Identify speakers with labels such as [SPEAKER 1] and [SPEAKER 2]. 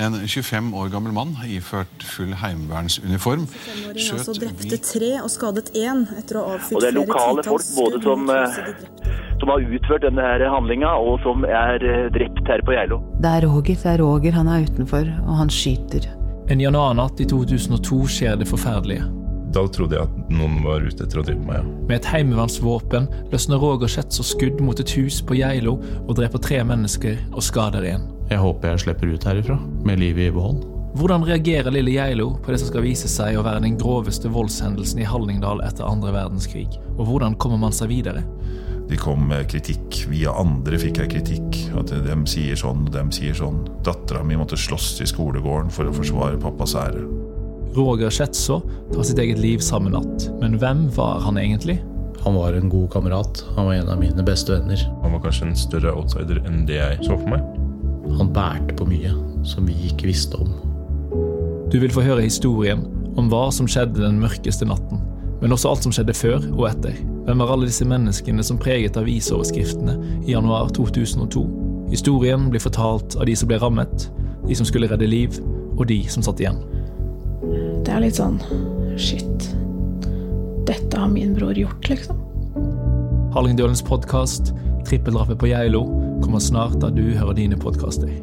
[SPEAKER 1] En 25 år gammel mann iført full heimevernsuniform
[SPEAKER 2] Femåringen altså drepte tre og skadet én etter å ha avfyrt
[SPEAKER 3] Og det
[SPEAKER 2] flere
[SPEAKER 3] er lokale folk
[SPEAKER 2] titalls
[SPEAKER 3] både
[SPEAKER 2] skudd
[SPEAKER 3] som,
[SPEAKER 2] mot
[SPEAKER 3] eh,
[SPEAKER 2] hus og de drepte.
[SPEAKER 3] som har utført denne her handlinga, og som er eh, drept her på Geilo.
[SPEAKER 4] Det er Roger, det er Roger. Han er utenfor, og han skyter.
[SPEAKER 5] En januarnatt i 2002 skjer det forferdelige.
[SPEAKER 6] Da trodde jeg at noen var ute etter å drepe meg. ja.
[SPEAKER 5] Med et heimevernsvåpen løsner Roger Schetzer skudd mot et hus på Geilo og dreper tre mennesker og skader én.
[SPEAKER 7] Jeg håper jeg slipper ut herifra med livet i behold.
[SPEAKER 5] Hvordan reagerer lille Geilo på det som skal vise seg å være den groveste voldshendelsen i Hallingdal etter andre verdenskrig? Og hvordan kommer man seg videre?
[SPEAKER 6] De kom med kritikk. Via andre fikk jeg kritikk. At de sier sånn, de sier sånn. Dattera mi måtte slåss i skolegården for å forsvare pappas ære.
[SPEAKER 5] Roger Schetzer tar sitt eget liv samme natt, men hvem var han egentlig?
[SPEAKER 7] Han var en god kamerat. Han var en av mine beste venner.
[SPEAKER 6] Han var kanskje en større outsider enn det jeg så for meg.
[SPEAKER 7] Han bærte på mye som vi ikke visste om.
[SPEAKER 5] Du vil få høre historien om hva som skjedde den mørkeste natten, men også alt som skjedde før og etter. Hvem var alle disse menneskene som preget avisoverskriftene i januar 2002? Historien blir fortalt av de som ble rammet, de som skulle redde liv, og de som satt igjen.
[SPEAKER 8] Det er litt sånn Shit. Dette har min bror gjort, liksom.
[SPEAKER 5] Hallingdølens podkast, trippeldrapet på Geilo, kommer snart der du hører dine podkaster.